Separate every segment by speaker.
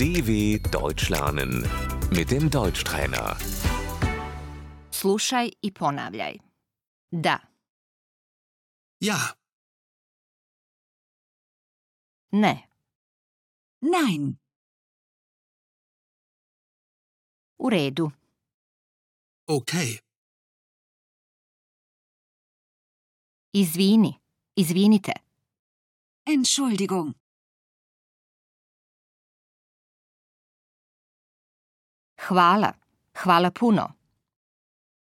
Speaker 1: DW Deutsch lernen mit dem Deutschtrainer.
Speaker 2: Slušaj i ponavljaj. Da,
Speaker 3: Ja,
Speaker 2: ne,
Speaker 4: Nein,
Speaker 2: u redu,
Speaker 3: okay,
Speaker 2: izvini, izvinite,
Speaker 4: Entschuldigung,
Speaker 2: hvala, hvala puno,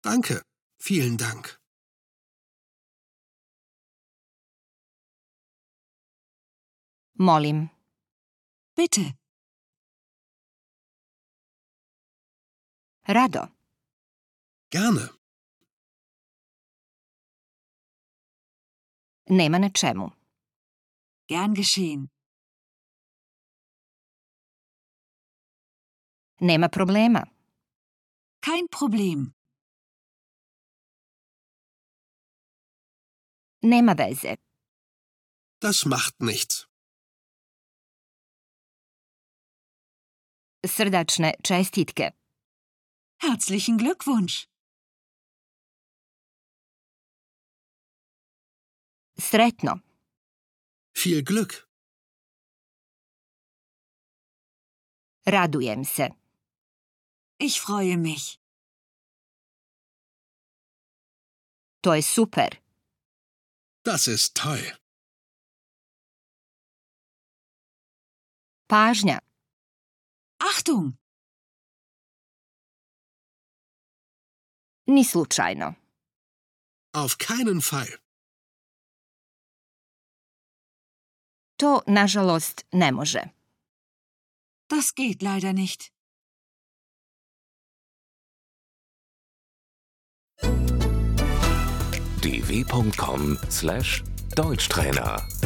Speaker 3: danke, vielen Dank.
Speaker 2: molim,
Speaker 4: bitte,
Speaker 2: rado,
Speaker 3: Gerne,
Speaker 2: nema na čemu.
Speaker 4: gern geschehen,
Speaker 2: Nema problema,
Speaker 4: kein Problem,
Speaker 2: nema veze,
Speaker 3: das macht nichts.
Speaker 2: srdačne čestitke,
Speaker 4: herzlichen Glückwunsch,
Speaker 2: sretno,
Speaker 3: Viel Glück,
Speaker 2: radujem se,
Speaker 4: ich freue mich,
Speaker 2: to je super,
Speaker 3: das ist toll.
Speaker 2: pažnja,
Speaker 4: Achtung,
Speaker 2: ni slučajno,
Speaker 3: Auf keinen Fall.
Speaker 2: to nažalost ne može.
Speaker 4: das geht leider nicht.
Speaker 1: dw.com/deutschtrainer